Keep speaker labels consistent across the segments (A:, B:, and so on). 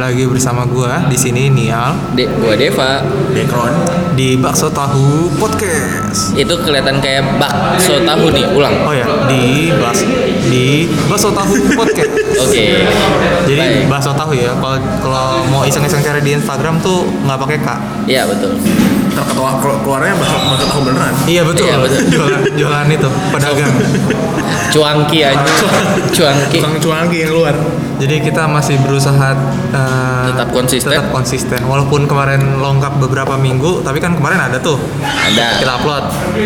A: lagi bersama gua di sini Nial
B: De, gua Deva
A: Background di Bakso Tahu Podcast.
B: itu kelihatan kayak bakso tahu nih ulang
A: Oh ya, di bas di Bakso Tahu Podcast.
B: oke
A: Jadi
B: Baik.
A: bakso tahu ya. Kalau kalau mau iseng-iseng cari di Instagram tuh nggak pakai K.
B: ya betul
C: Ntar ketua- kelu- keluarnya bakso bakso tahu beneran.
A: Iya betul.
B: Iya, betul.
A: jualan jualan itu pedagang.
B: cuangki aja cuangki
C: Tukang cuanki yang luar.
A: Jadi kita masih berusaha eh,
B: Tetap konsisten.
A: Tetap konsisten. Walaupun kemarin longkap beberapa minggu, tapi kan kemarin ada tuh.
B: Ada.
A: Kita upload.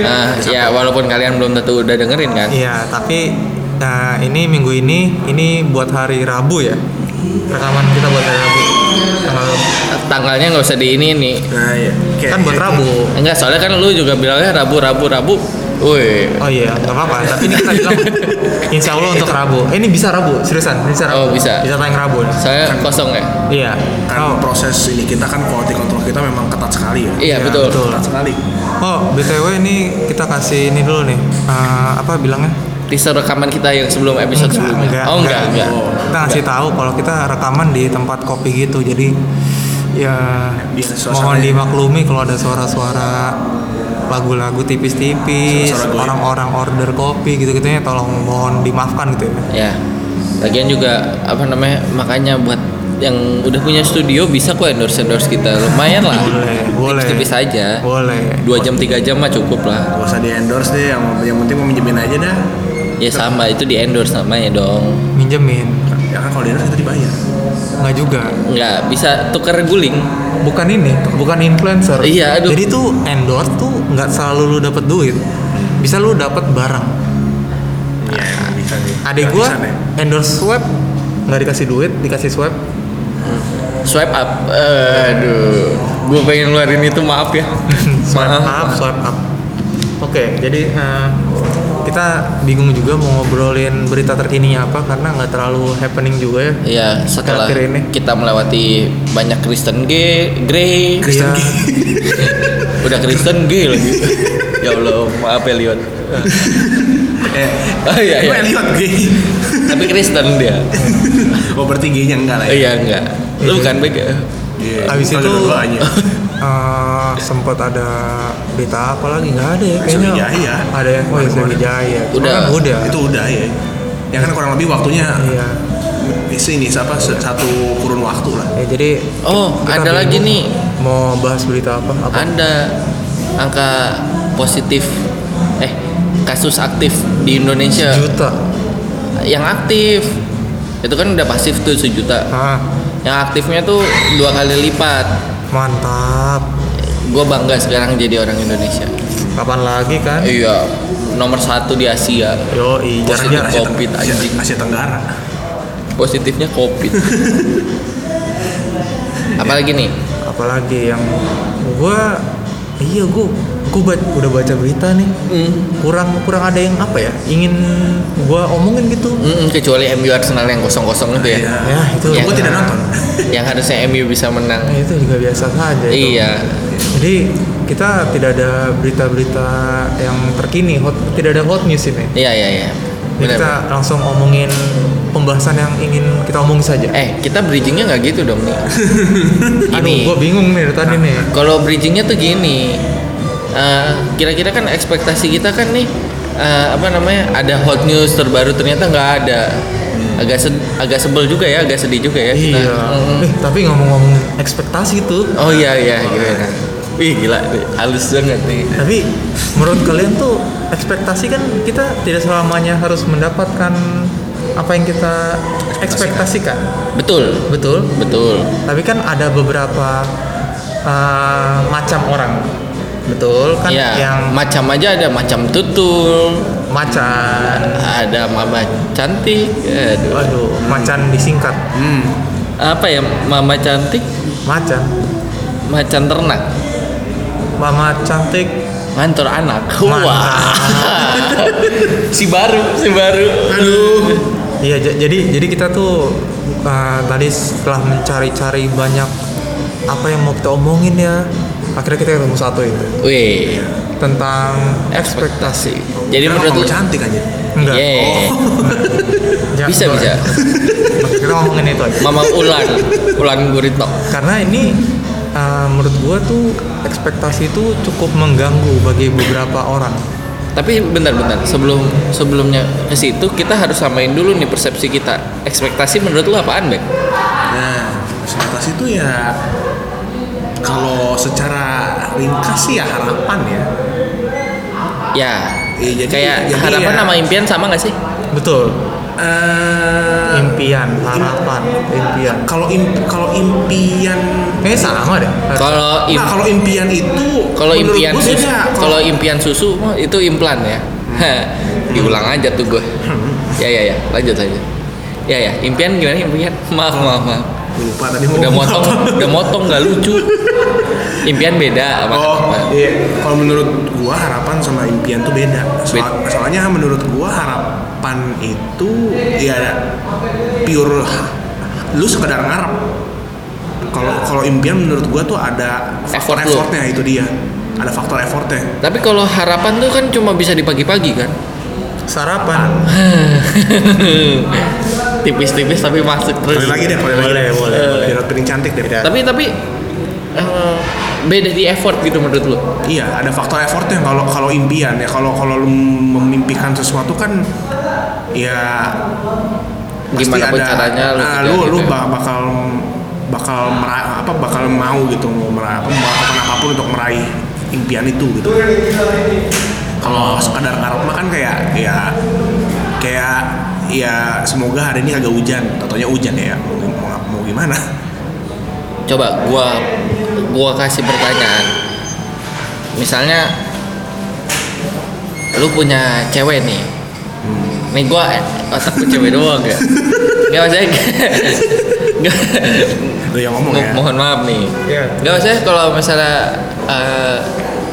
B: nah ya walaupun kalian belum tentu udah dengerin kan
A: Iya, tapi eh, ini minggu ini ini buat hari Rabu ya. Rekaman kita buat hari Rabu. Tanggal
B: tanggalnya nggak usah di ini nih
C: Nah iya. Kayak-
A: kan buat
C: kayak-
A: Rabu.
B: enggak soalnya kan lu juga bilangnya rabu rabu rabu woi
A: Oh iya, nggak apa-apa. Tapi ini kita bilang Insya Allah untuk Rabu. Eh, ini bisa Rabu, seriusan? Bisa Rabu.
B: Oh, bisa.
A: Bisa tayang Rabu.
B: saya kosong ya
A: Iya.
C: Kan
A: Oh,
C: proses ini kita kan quality control kita memang ketat sekali ya.
B: iya
A: Iya,
B: betul
A: betul.
C: Ketat sekali.
A: oh btw ini kita kasih ini dulu nih. Eh, apa bilangnya?
B: teaser rekaman kita yang sebelum episode sebelumnya oh enggak enggak,
A: Nah, Kita ngasih tahu kalau kita rekaman di tempat kopi gitu. Jadi ya
C: Di suasana
A: mohon
C: ya.
A: dimaklumi kalau ada suara-suara lagu-lagu tipis-tipis,
C: Suara-suara goyang.
A: orang-orang order kopi gitu-gitunya tolong mohon dimaafkan gitu ya.
B: ya lagian juga apa namanya makanya buat yang udah punya studio bisa kok endorse endorse kita lumayan lah
A: Boleh, boleh.
B: tipis aja
A: Boleh.
B: dua jam tiga jam mah cukup lah
C: Gak usah di endorse deh. Yang yang penting mau minjemin aja dah.
B: ya sama itu di endorse namanya dong
A: Minjemin.
C: Ya kan kalau di endorse kita dibayar.
A: Nggak juga.
B: nggak bisa tuker guling
A: Bukan ini, bukan influencer.
B: Iya, aduh.
A: Jadi tuh endorse tuh nggak selalu lu dapet duit. Bisa lu dapet barang.
C: Iya emang bisa sih.
A: Adek gua
C: Gratisan ya.
A: endorse swab nggak dikasih duit, dikasih swab.
B: swipe up aduh gue pengen ngeluarin itu maaf ya
A: swipe up, swipe up. Oke, jadi eh, kita bingung juga mau ngobrolin berita terkininya apa karena nggak terlalu happening juga ya.
B: ya setelah
A: Akhir-akhir ini.
B: kita melewati banyak Kristen gay Grey
A: Iya,
B: udah Kristen gay lagi ya Allah maaf ya Leon
C: Eh.
B: oh iya
C: Gue
B: iya
C: Elliot gay.
B: tapi Kristen dia
C: Oh berarti gaynya enggak lah
B: oh,
C: ya.
B: iya enggak lu bukan baik ya
C: Iya.
A: Abis
C: Kalau
A: itu
C: dua-dua aja.
A: eh, sempat ada berita apa lagi nggak ada ya kayaknya.
C: Sriwijaya.
A: Ada yang oh, ya, Sriwijaya.
B: Udah.
A: Kan udah.
C: Itu udah ya. Ya kan kurang lebih waktunya
A: Iya.
C: ini apa satu kurun waktu lah.
A: Ya, jadi
B: oh
A: kita
B: ada lagi
A: bingung
B: nih
A: Mau bahas berita apa? Apa?
B: anda angka positif eh kasus aktif di Indonesia
A: Juta.
B: yang aktif itu kan udah pasif tuh sejuta
A: Ah,
B: yang aktifnya tuh dua kali lipat
A: mantap.
B: gue bangga sekarang jadi orang Indonesia
A: Kapan lagi kan?
B: iya nomor satu di Asia
A: Yo,
B: Positif
A: jarang-jarang.
C: Asia, Teng-
B: Covid,
C: Asia,
B: anjing.
C: Asia Tenggara.
B: positifnya covid apalagi nih
A: apalagi yang gua iya gua gua ba- udah baca berita nih kurang kurang ada yang apa ya ingin gua omongin gitu
B: Mm-mm, Hmm, kecuali MU Arsenal yang kosong kosong itu ya
C: Iya.
A: ya itu
B: Yang-
C: Gua tidak nonton.
B: yang harusnya MU bisa menang
A: Ya, itu juga biasa saja itu.
B: iya
A: jadi kita tidak ada berita-berita yang terkini hot tidak ada hot news ini
B: iya iya iya
A: Jadi
B: Benar.
A: kita langsung omongin pembahasan yang ingin kita omongin saja
B: eh kita bridgingnya nggak gitu dong nih
A: aduh
B: ini
A: gua bingung nih dari tadi nih
B: kalau bridgingnya tuh gini eh, kira-kira kan ekspektasi kita kan nih eh, apa namanya ada hot news terbaru ternyata nggak ada agak sed- agak sebel juga ya agak sedih juga ya kita.
A: iya
B: Mm-mm.
A: eh, tapi ngomong-ngomong ekspektasi tuh
B: Oh iya iya gitu ya. Wih gila nih, halus banget nih.
A: Tapi menurut kalian tuh ekspektasi kan kita tidak selamanya harus mendapatkan apa yang kita ekspektasikan,
B: Betul,
A: betul?
B: betul.
A: Tapi kan ada beberapa eh, macam orang, betul? Kan
B: Iya,
A: yang
B: macam aja ada macam tutul,
A: macan,
B: ada mama cantik. Aduh.
A: waduh, macan disingkat,
C: Hmm.
B: Apa ya mama cantik?
A: macan,
B: Macan ternak.
A: mama cantik,
B: Mantor anak.
A: Mantor.
B: Wah. si baru, si baru. Aduh.
A: Iya, ja- jadi jadi kita tuh uh, tadi setelah mencari-cari banyak apa yang mau kita omongin ya, akhirnya kita ketemu satu itu
B: Wih,
A: tentang
B: ekspektasi. Jadi
C: Karena
B: menurut
C: kamu
B: lu
C: cantik aja.
A: enggak
B: Yeay.
A: Oh, Jangan-
B: Bisa bisa.
A: kita ngomongin itu aja
B: Mama Ulan, Ulan Guritno.
A: karena ini uh, menurut gua tuh ekspektasi itu cukup mengganggu bagi beberapa orang
B: Tapi bentar-bentar sebelum sebelumnya ke situ kita harus samain dulu nih persepsi kita. Ekspektasi menurut lu apaan, Bek?
C: Nah, ekspektasi itu ya kalau secara ringkas sih ya harapan ya.
B: Ya,
C: Iya, jadi-
B: kayak
C: jadi
B: harapan
C: ya.
B: sama impian sama nggak sih?
A: betul
C: Eh, ya,
A: impian harapan impian
C: kalau im- kalau impian
A: kayaknya sama deh
B: Kalau im-
C: Nah, kalau impian itu
B: kalau
C: menurut
B: impian
C: gua sih
B: susu,
C: ya, Hmm.
B: kalau impian susu mah itu implan ya. Diulang aja tuh gue. Ya ya ya, lanjut aja. Ya ya, impian gimana impian? Maaf maaf maaf.
C: lupa tadi mau
B: Udah
C: ngomong
B: motong,
C: apa.
B: udah motong nggak lucu. Impian beda sama
C: Oh, iya. Kalau menurut gua harapan sama impian tuh beda. Soal- soalnya menurut gua harapan itu ya pure lu sekedar ngarep. Kalau kalau impian menurut gua tuh ada
B: Effort lu.
C: faktor
B: Hmm.
C: effortnya itu dia. Ada faktor effortnya.
B: Tapi kalau harapan tuh kan cuma bisa di pagi-pagi kan?
A: sarapan
B: Tipis-tipis tapi masuk terus.
C: Boleh lagi deh, boleh
A: Boleh,
C: lagi.
A: boleh,
C: boleh. Biar piring cantik deh.
B: Tapi tapi eh, beda di effort gitu menurut lu.
C: Iya, ada faktor effortnya kalau kalau impian ya. Kalau kalau lu memimpikan sesuatu kan ya pasti
B: Gimana pun
C: ada-
B: caranya lu
C: ah, lu
B: kerjain
C: lu
B: gitu.
C: ba- bakal bakal mera- apa bakal mau gitu mau mera- apa, melakukan apapun untuk meraih impian itu gitu kalau sekadar ngarep mah kan kayak ya kayak ya semoga hari ini agak hujan tentunya hujan ya mau, gim- mau, mau gimana
B: Coba gua gua kasih pertanyaan. Misalnya lu punya cewek nih. Nih gua otak gua cewek doang ya. Enggak maksudnya nggak-
C: lu yang ngomong
B: Mo-
C: ya
B: mohon maaf nih.
A: Iya.
B: Enggak maksudnya kalau misalnya eh,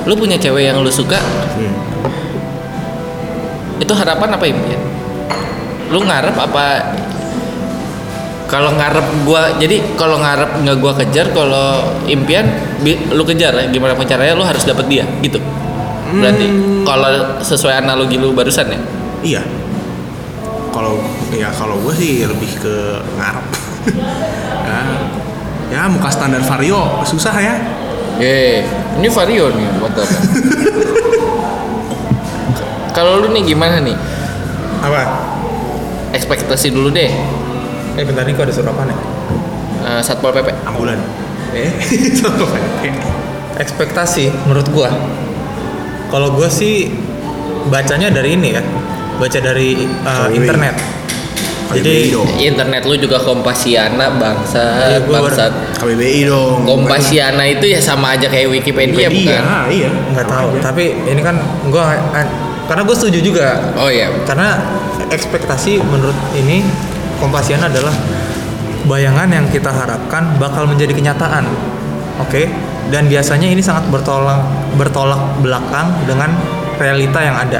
B: lu punya cewek yang lu suka,
C: Hmm.
B: itu harapan apa impian? Lu ngarep apa? Kalau ngarep gua, jadi kalau ngarep nggak gua kejar, kalau impian bi- lu kejar ya, gimana pun caranya lu harus dapet dia gitu. Berarti kalau sesuai analogi lu barusan ya.
C: iya kalau ya kalau gue sih lebih ke ngarep ya, ya muka standar vario susah ya
B: Ye, ini vario nih mantap. kalau lu nih gimana nih?
A: apa
B: Ekspektasi dulu deh.
A: eh bentar nih kok ada sarapan ya
B: eh, Satpol PP.
C: ambulan eh
A: ekspektasi menurut gua kalau gua sih bacanya dari ini ya baca dari uh,
C: Sorry.
A: internet
C: KBBI
A: jadi
C: dong.
B: Internet lu juga kompasiana bangsa,
A: Iya, gua baru-
B: bangsat.
C: KBBI dong.
B: Kompasiana itu ya sama aja kayak Wikipedia,
C: Iya,
B: bukan?
C: iya.
A: nggak tahu tapi ini kan gua an- karena gue setuju juga
B: Oh iya.
A: karena ekspektasi menurut ini kompasian adalah bayangan yang kita harapkan bakal menjadi kenyataan oke dan biasanya ini sangat bertolak bertolak belakang dengan realita yang ada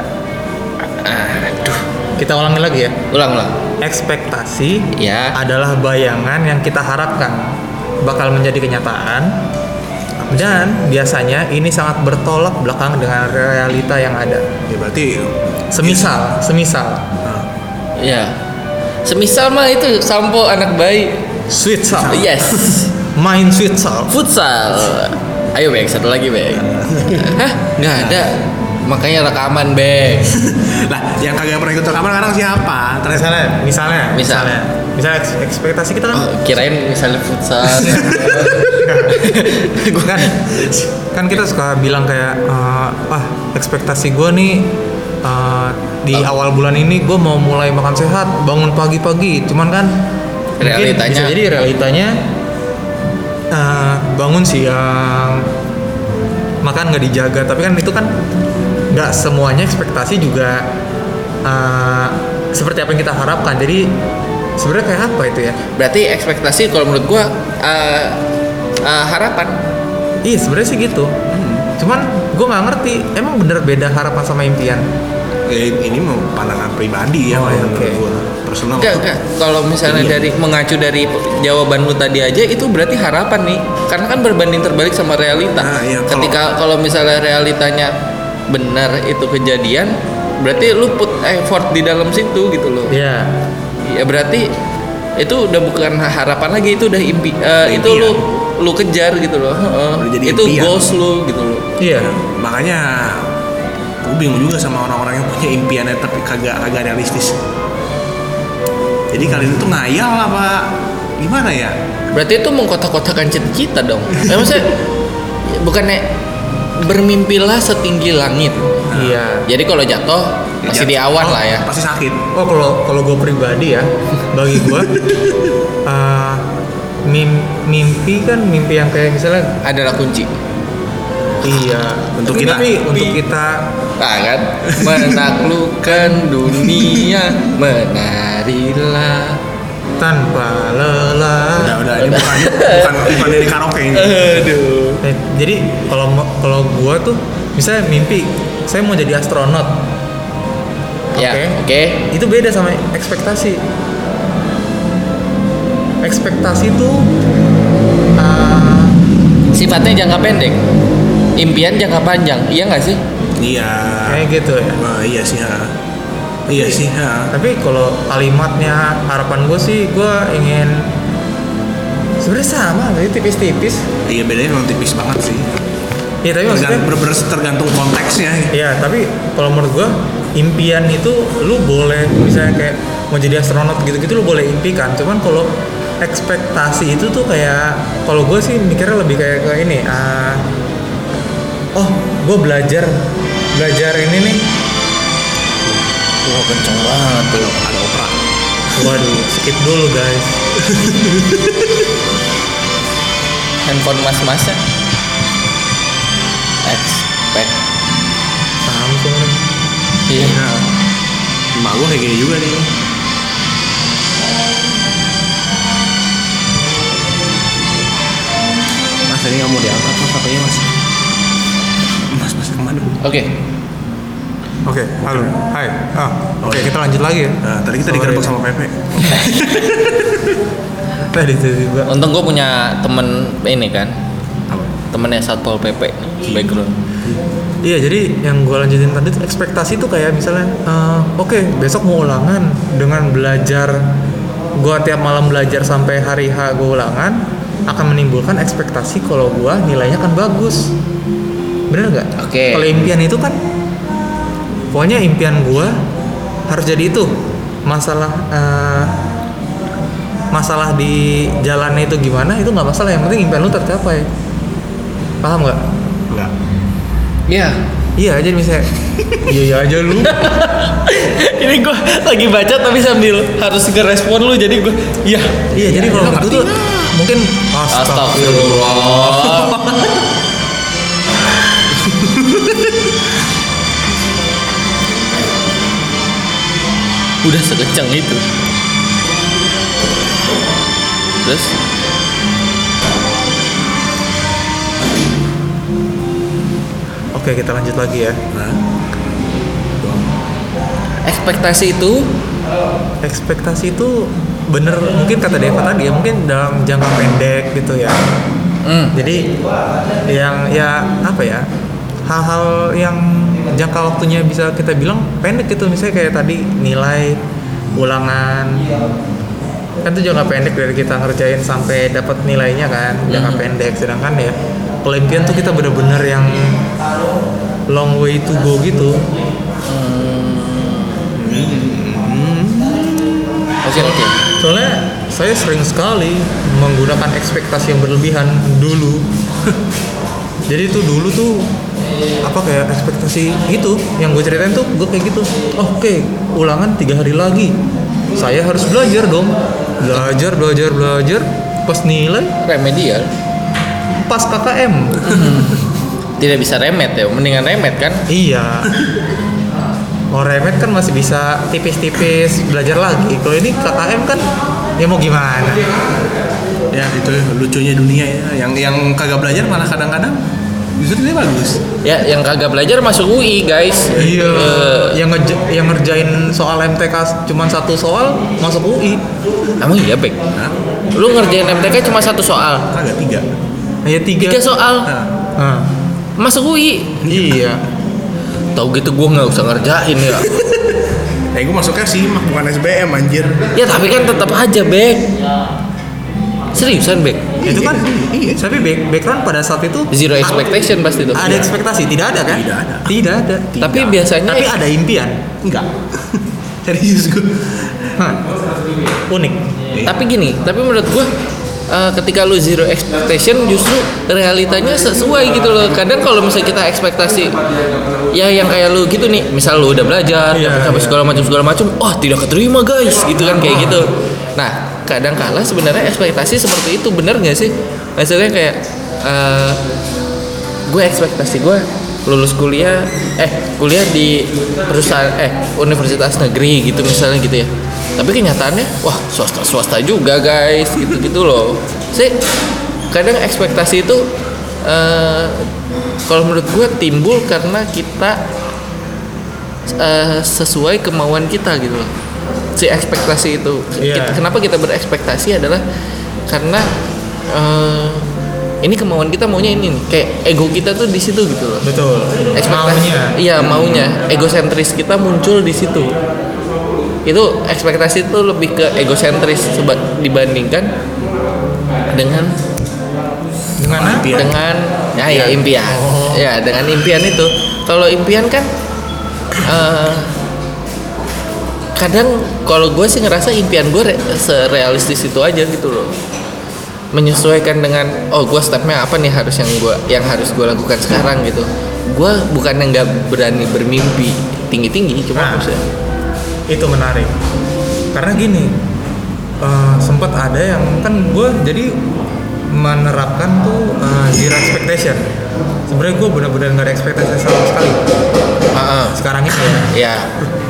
B: Aduh.
A: kita ulangi lagi ya
B: Ulang ulang.
A: ekspektasi
B: Ya.
A: adalah bayangan yang kita harapkan bakal menjadi kenyataan dan biasanya ini sangat bertolak belakang dengan realita yang ada.
C: Ya berarti
A: Semisal, semisal,
C: nah,
B: Ya. Semisal mah itu sampo anak bayi.
A: futsal,
C: Iya.
B: Yes.
A: main futsal.
B: Futsal. Ayo Bek, satu lagi Bek. Hah? Nggak ada. Makanya rekaman Bek.
C: lah yang kagak pernah ikut rekaman sekarang siapa? Ternyata
A: Misalnya, misalnya,
B: Misal.
A: misalnya, misalnya eks- ekspektasi kita kan,
B: Oh, kirain misalnya futsal.
A: kan, kan kita suka bilang kayak, eh, ah ekspektasi gue nih eh, di awal bulan ini gue mau mulai makan sehat, bangun pagi-pagi, cuman kan mungkin
B: Realitanya.
A: bisa jadi realitanya eh, bangun siang, makan nggak dijaga, tapi kan itu kan nggak semuanya ekspektasi juga eh, seperti apa yang kita harapkan, jadi sebenarnya kayak apa itu ya?
B: Berarti ekspektasi kalau menurut gua eh, eh, harapan.
A: Iya sebenarnya sih gitu.
C: Hmm.
A: Cuman gue nggak ngerti. Emang bener beda harapan sama impian?
C: eh, ini mau pandangan pribadi ya
A: Oh,
C: kalau
A: oke.
C: menurut gua.
B: iya,
C: Personal.
B: Enggak, enggak. Kalau misalnya
C: Iya.
B: dari mengacu dari jawaban lu tadi aja itu berarti harapan nih. Karena kan berbanding terbalik sama realita.
C: Nah, iya, kalau-
B: Ketika kalau misalnya realitanya benar itu kejadian, berarti lu put effort di dalam situ gitu loh.
A: Iya.
B: Ya berarti itu udah bukan harapan lagi itu udah impi eh, itu lu lu kejar gitu loh Heeh.
C: Udah jadi
B: itu
C: impian.
B: goals lu gitu loh
A: Iya.
C: makanya gue bingung juga sama orang-orang yang punya impiannya tapi kagak kagak realistis jadi kalian itu ngayal apa gimana ya
B: berarti itu mengkotak-kotakan cita-cita dong ya, maksudnya bukannya bermimpilah setinggi langit
A: Iya.
B: jadi kalau jatuh masih di awan lah ya
C: pasti sakit
A: Oh kalau kalau gue pribadi ya, bagi gue eh, mim- mimpi kan mimpi yang kayak misalnya
B: adalah kunci
A: iya
C: Untuk kita.
A: Tapi untuk kita
B: Nah kan Menaklukkan dunia Menarilah
A: tanpa
C: udah
A: lelah.
C: udah ini bukan bukan bukan dari karaoke ini
B: Aduh
A: Eh, jadi kalau mau- kalau gue tuh misalnya mimpi saya mau jadi astronot.
B: Ya
A: Oke.
B: oke
A: itu beda sama ekspektasi ekspektasi itu uh,
B: Sifatnya jangka pendek Impian jangka panjang Iya nggak sih?
C: iya
A: kayak gitu ya
C: Wah, iya sih ha. iya sih ha.
A: tapi kalau kalimatnya harapan gue sih gue ingin sebenarnya sama tapi tipis-tipis
C: iya bedanya memang tipis banget sih
A: ya tapi maksudnya
C: Tergan- bener-bener tergantung konteksnya
A: ya tapi kalau menurut gue impian itu lu boleh misalnya kayak mau jadi astronot gitu-gitu lu boleh impikan cuman kalau ekspektasi itu tuh kayak kalau gue sih mikirnya lebih kayak ke ini ah, oh gue belajar belajar ini nih
B: Wah kenceng banget tuh
C: ada opera
A: waduh skip dulu guys
B: Handphone mas-masnya Expect
A: Samsung nih
B: Iya
C: ya emak gue kayak gini juga nih mas ini nggak mau diangkat mas apanya mas mas mas kemana
B: Oke
A: oke halo hai ah oke kita lanjut lagi ya
C: nah, tadi kita digerebek sama Pepe
A: tadi tiba-tiba
B: Untung gue punya temen ini kan
C: Apa?
B: Temennya Satpol PP Background
A: Iya jadi yang gue lanjutin tadi tuh ekspektasi tuh kayak misalnya eh, oke besok mau ulangan dengan belajar gue tiap malam belajar sampai hari H gue ulangan akan menimbulkan ekspektasi kalau gue nilainya akan bagus bener nggak?
B: Oke.
A: Kalau impian itu kan pokoknya impian gue harus jadi itu masalah eh, masalah di jalannya itu gimana itu nggak masalah yang penting impian lu tercapai paham nggak?
C: enggak
B: Iya
A: Iya jadi misalnya iya iya aja lu.
B: ini gue lagi baca tapi sambil harus ngerespon lu jadi gue ya
A: Iya jadi kalau itu tuh mungkin astagfirullah.
B: astagfirullah udah sekeceng itu terus
A: Oke kita lanjut lagi ya.
C: nah
B: ekspektasi itu
A: Ekspektasi itu bener mungkin kata Deva tadi ya mungkin dalam jangka pendek gitu ya.
B: hmm,
A: Jadi yang ya apa ya hal-hal yang jangka waktunya bisa kita bilang pendek gitu misalnya kayak tadi nilai ulangan kan itu jangka pendek dari kita ngerjain sampai dapat nilainya kan jangka
B: Mhm.
A: pendek sedangkan ya kalau impian tuh kita bener-bener yang long way to go gitu
B: oke oke
A: soalnya saya sering sekali menggunakan ekspektasi yang berlebihan dulu jadi itu dulu tuh apa kayak ekspektasi itu yang gue ceritain tuh gue kayak gitu "Oh, oke ulangan tiga hari lagi saya harus belajar dong belajar belajar belajar pas nilai
B: remedial
A: pas KKM
B: tidak bisa remet ya mendingan remet kan
A: iya kalau remet kan masih bisa tipis-tipis belajar lagi kalau ini KKM kan ya mau gimana
C: ya itu lucunya dunia ya yang yang kagak belajar malah kadang-kadang justru dia bagus
B: ya yang kagak belajar masuk UI guys
A: Iya,
B: Eh,
A: yang ngeja yang ngerjain soal MTK cuma satu soal masuk UI.
B: Emang iya, Bek?
C: nah
B: Lu ngerjain MTK cuma satu soal.
C: kagak tiga
A: Nah, Ya tiga.
B: Tiga soal.
C: nah,
A: Ah,
B: Masuk UI.
A: iya.
B: Tahu gitu gua nggak usah ngerjain ya.
C: Ya gue masuknya SIMAK bukan SBM anjir.
B: Ya tapi kan tetap aja, Bek. Seriusan, Bek.
A: itu kan
C: Iya.
A: tapi back- background pada saat itu
B: Zero
A: a-
B: expectation pasti tuh. Iya.
A: ada ekspektasi tidak ada kan
C: Tidak ada.
A: tidak ada
B: Tapi biasanya
A: tapi ada impian
C: Enggak.
A: serius gue Hah. unik
B: tapi gini, tapi menurut gua eh, ketika lu zero expectation justru realitanya sesuai gitu loh kadang kalau misalnya kita ekspektasi ya yang kayak lu gitu nih misal lu udah belajar
A: Iya,
B: capek-capek
A: iya.
B: segala macam segala macam wah tidak keterima guys gitu kan kayak gitu nah kadang kala sebenarnya ekspektasi seperti itu bener nggak sih maksudnya kayak eh, gue ekspektasi gue lulus kuliah eh kuliah di perusahaan eh universitas negeri gitu misalnya gitu ya tapi kenyataannya wah swasta swasta juga guys gitu gitu loh sih kadang ekspektasi itu eh, kalau menurut gue timbul karena kita eh, sesuai kemauan kita gitu loh si ekspektasi itu
A: Iya.
B: Kita- kenapa kita berekspektasi adalah karena eh, ini kemauan kita maunya ini nih kayak ego kita tuh di situ gitu loh
A: betul
B: ekspektasi
A: maunya Hmm.
B: iya maunya egosentris kita muncul di situ itu ekspektasi itu lebih ke egosentris seba- dibandingkan dengan
C: iya.
A: dengan apa?
C: Impian.
B: dengan ya, ya impian
A: Oh.
B: ya dengan impian itu kalau impian kan eh, kadang kalau gue sih ngerasa impian gue re- serealistis itu aja gitu loh menyesuaikan dengan oh gue stepnya apa nih harus yang gue yang harus gue lakukan sekarang gitu gue bukan yang nggak berani bermimpi tinggi tinggi cuma
A: Nah.
B: maksudnya
A: itu menarik karena gini eh, sempat ada yang kan gue jadi menerapkan tuh eh, zero expectation sebenarnya gue benar-benar nggak ada ekspektasi sama sekali
B: Ah, ah.
A: sekarang ini ya
B: ya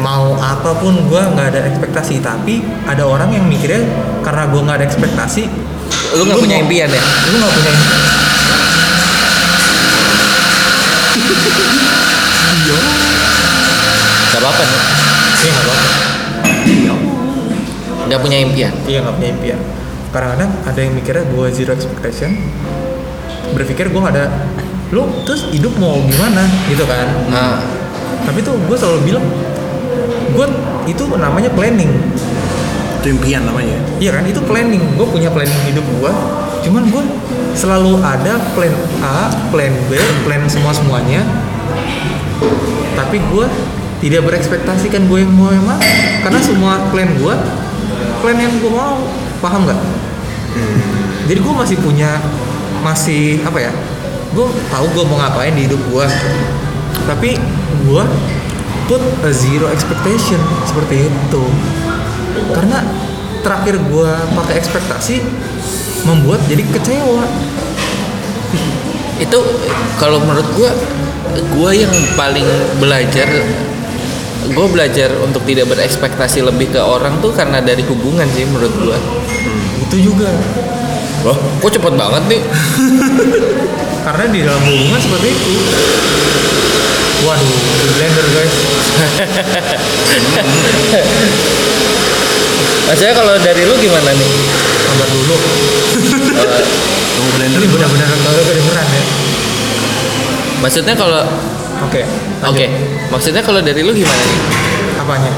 A: mau apapun gue nggak ada ekspektasi tapi ada orang yang mikirnya karena gue nggak ada ekspektasi
B: lu nggak
A: Lu
B: punya
A: mau-
B: impian ya
A: lu nggak punya ini.
B: nggak apa apa nih
A: iya nggak apa-apa
B: nggak punya impian
A: iya nggak punya impian kadang-kadang ada yang mikirnya gue zero expectation berpikir gue nggak ada lu terus hidup mau gimana gitu kan
B: nah
A: tapi tuh gue selalu bilang gue itu namanya planning
C: Itu impian namanya.
A: iya kan itu planning gue punya planning hidup gue cuman gue selalu ada plan A plan B plan semua semuanya tapi gue tidak berekspektasi kan gue yang mau yang mana karena semua plan gue plan yang gue mau paham nggak jadi gue masih punya masih apa ya gue tahu gue mau ngapain di hidup gue tapi gue put a zero expectation seperti itu karena terakhir gue pakai ekspektasi membuat jadi kecewa
B: itu kalau menurut gua gua yang paling belajar gua belajar untuk tidak berekspektasi lebih ke orang tuh karena dari hubungan sih menurut gua
A: itu juga
B: loh kok cepet banget nih
A: karena di dalam hubungan seperti itu waduh di blender guys
B: maksudnya kalau dari lu gimana nih Eh,
A: sabar dulu
C: Tunggu blender
A: ini
C: dulu.
A: benar-benar kagak kedengeran ya
B: maksudnya kalau
A: oke
B: oke maksudnya kalau dari lu gimana nih
A: apanya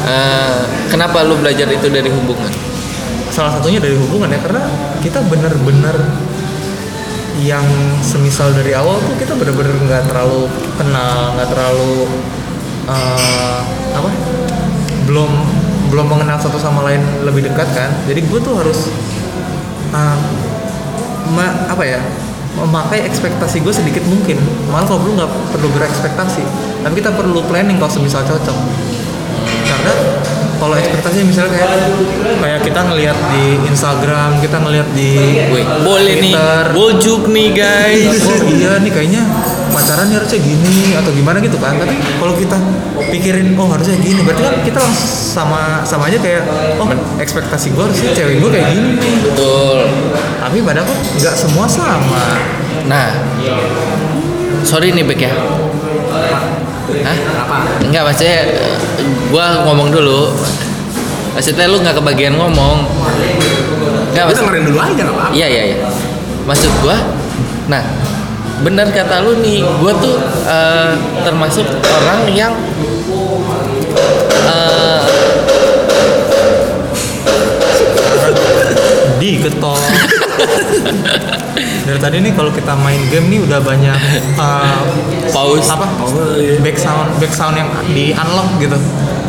B: Eh, kenapa lu belajar itu dari hubungan
A: salah satunya dari hubungan ya karena kita benar-benar yang semisal dari awal tuh kita benar-benar nggak terlalu kenal nggak terlalu eh, apa belum belum mengenal satu sama lain lebih dekat kan jadi gue tuh harus eh, ma- apa ya memakai ekspektasi gue sedikit mungkin malah kalau perlu nggak perlu berekspektasi tapi kita perlu planning kalau semisal cocok karena kalau ekspektasinya misalnya kayak kayak kita ngelihat di Instagram kita ngelihat di
B: Woi, boleh nih
A: Twitter.
B: bojuk nih guys
A: oh iya nih kayaknya pacarannya harusnya gini atau gimana gitu kan tapi kalau kita pikirin oh harusnya gini berarti kan kita langsung sama sama aja kayak oh ekspektasi gue harusnya cewek gue kayak gini nih
B: betul
A: tapi padahal kan nggak semua sama
B: Nah, sorry nih Bek ya. Hah? Apa? Enggak, maksudnya eh, gua ngomong dulu. Maksudnya lu nggak kebagian ngomong. Enggak,
C: Lu
B: maksud-
C: dengerin dulu aja nggak apa-apa.
B: Iya, iya, iya. Maksud gua, nah, benar kata lu nih, gua tuh eh, termasuk orang yang eh,
A: diketok dari tadi nih kalau kita main game nih udah banyak uh,
B: Pause.
A: apa back sound back sound yang di unlock gitu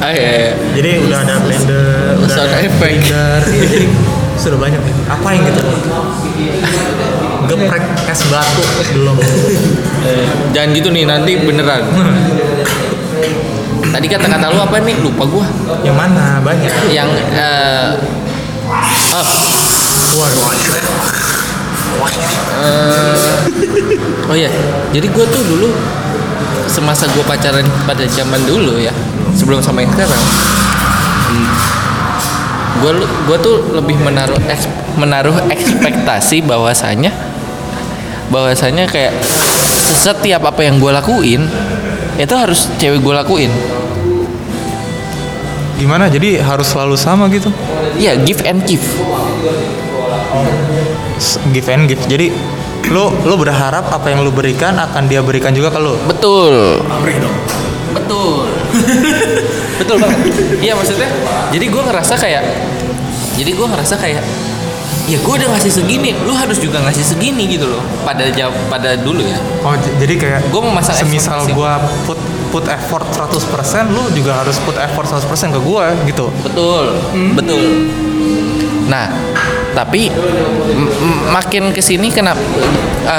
B: Ah, iya, iya.
A: jadi udah ada blender udah
B: Sound
A: ada
B: effect.
A: blender jadi sudah banyak nih apa yang gitu geprek es batu belum
B: Eh, Jangan gitu nih nanti beneran. Tadi kata-kata lu apa nih? Lupa gua.
A: yang mana banyak
B: Yang eh up.
A: waduh
B: Oh iya, jadi gue tuh dulu semasa gue pacaran pada zaman dulu ya, sebelum sama yang sekarang. Gue gua tuh lebih menaruh eks- menaruh ekspektasi bahwasanya bahwasanya kayak setiap apa yang gue lakuin itu harus cewek gue lakuin.
A: gimana jadi harus selalu sama gitu
B: Iya, give and give.
A: S- give and give jadi lo lo berharap apa yang lo berikan akan dia berikan juga ke lo
B: Betul.
C: pabrik dong
B: Betul. Betul banget. Iya maksudnya. Jadi gue ngerasa kayak. Jadi gue ngerasa kayak. Ya gue udah ngasih segini, lu harus juga ngasih segini gitu loh. Pada jawab pada dulu ya.
A: oh j- jadi kayak
B: Gua mau masang
A: semisal
B: ekspektasi.
A: gua put put effort 100% lo juga harus put effort 100% ke gua gitu
B: Betul,
A: Hmm.
B: betul. Nah, tapi m- m- makin kesini kenapa?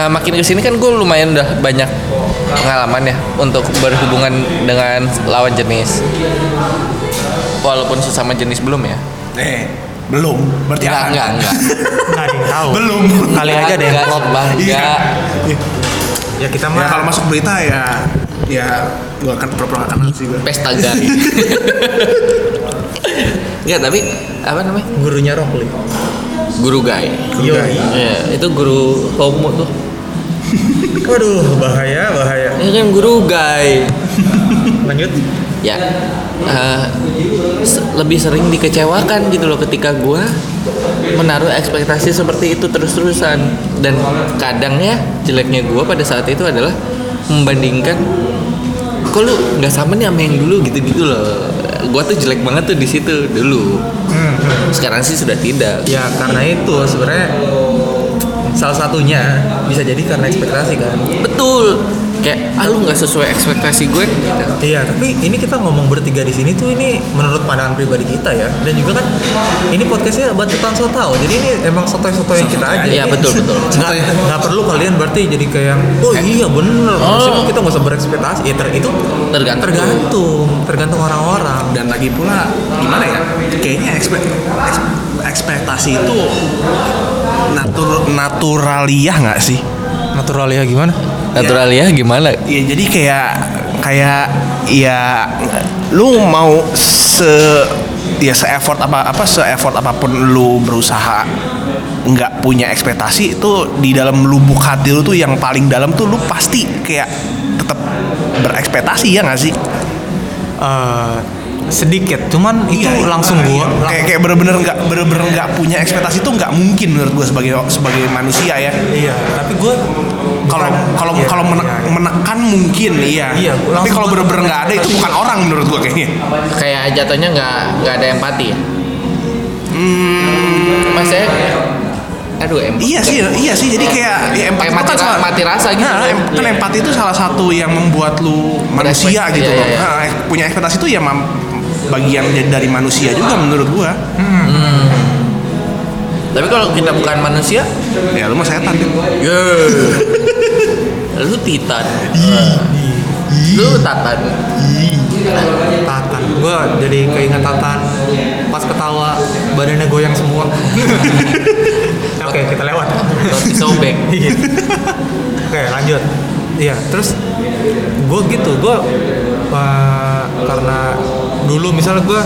B: makin kesini kan gue lumayan udah banyak pengalaman ya untuk berhubungan dengan lawan jenis. Walaupun sesama jenis belum ya.
C: eh belum
B: Enggak,
C: berarti akan.
B: enggak, enggak.
A: nggak ada yang tahu
C: belum
A: Ya. Nah, kali aja deh
B: Enggak,
A: klop
B: bangga.
C: Iya.
A: ya kita
C: ya
A: mah
C: kalau masuk berita ya ya gua akan pura-pura akan sih gua
B: Pesta gay. Enggak, tapi apa namanya?
A: gurunya Rockly
B: Guru gay.
A: Yo.
B: Iya, itu guru homo tuh.
A: waduh bahaya bahaya
B: Ya kan guru gay.
A: lanjut
B: Ya. eh, se- lebih sering dikecewakan gitu loh ketika gua menaruh ekspektasi seperti itu terus-terusan dan kadang ya jeleknya gua pada saat itu adalah membandingkan kok lu nggak sama nih sama yang dulu gitu-gitu loh gua tuh jelek banget tuh di situ dulu
A: Hmm, hmm.
B: sekarang sih sudah tidak
A: ya karena itu sebenarnya salah satunya bisa jadi karena ekspektasi kan
B: betul kayak ah lu nggak sesuai ekspektasi gue gitu.
A: Iya, tapi ini kita ngomong bertiga di sini tuh ini menurut pandangan pribadi kita ya. Dan juga kan ini podcastnya buat tukang so tau. Jadi ini emang sotoy-sotoyan kita aja.
B: Iya,
A: Ini
B: betul, betul.
A: Nggak, nggak perlu kalian berarti jadi kayak, oh iya bener. Maksudnya kita nggak usah berekspektasi. Ya, ter- itu
B: Tergantung.
A: tergantung, tergantung orang-orang.
C: dan lagi pula gimana ya kayaknya ekspe- eks- ekspektasi itu natur naturaliah nggak sih
A: Natural ya gimana?
B: natural ya gimana
C: ya jadi kayak kayak ya lu mau se ya se effort apa apa se effort apapun lu berusaha nggak punya ekspektasi itu di dalam lubuk hati lu tuh yang paling dalam tuh lu pasti kayak tetap berekspektasi ya nggak sih
A: Eh, sedikit, cuman itu
C: Iya,
A: langsung
C: iya.
A: gua.
C: kayak kayak bener-bener nggak bener-bener nggak punya ekspektasi itu nggak mungkin menurut gua sebagai sebagai manusia ya
A: Iya, tapi gue
C: kalau kalau kalau mene- menekan mungkin iya,
A: Iya,
C: tapi
A: langsung
C: kalau
A: gua-
C: bener-bener nggak ada itu bukan orang menurut gua kayaknya
B: kayak jatuhnya nggak nggak ada empati ya mas saya aduh empati
C: Hmm. Iya sih, iya sih. Jadi kayak ya empati
B: Kayak
C: itu
B: mati ra-
C: salah-
B: mati rasa gitu.
C: Nah, em- kan
B: Iya.
C: empati itu salah satu yang membuat lu manusia
B: Berespek-
C: gitu
B: iya,
C: loh.
B: iya, iya.
C: Nah, ek- punya ekspektasi itu ya mam- bagian j- dari manusia juga menurut gua.
B: tapi kalau kita bukan manusia
C: Ya lu mah setan. Din.
B: ya lu titan
C: Iya.
B: lu tatan
A: Tatan, gue jadi keinget Tatan pas ketawa badannya goyang semua. Oke, kita lewat.
B: roti sobek
A: Iya. Oke, lanjut. Iya, terus gue gitu, gue karena dulu misalnya gue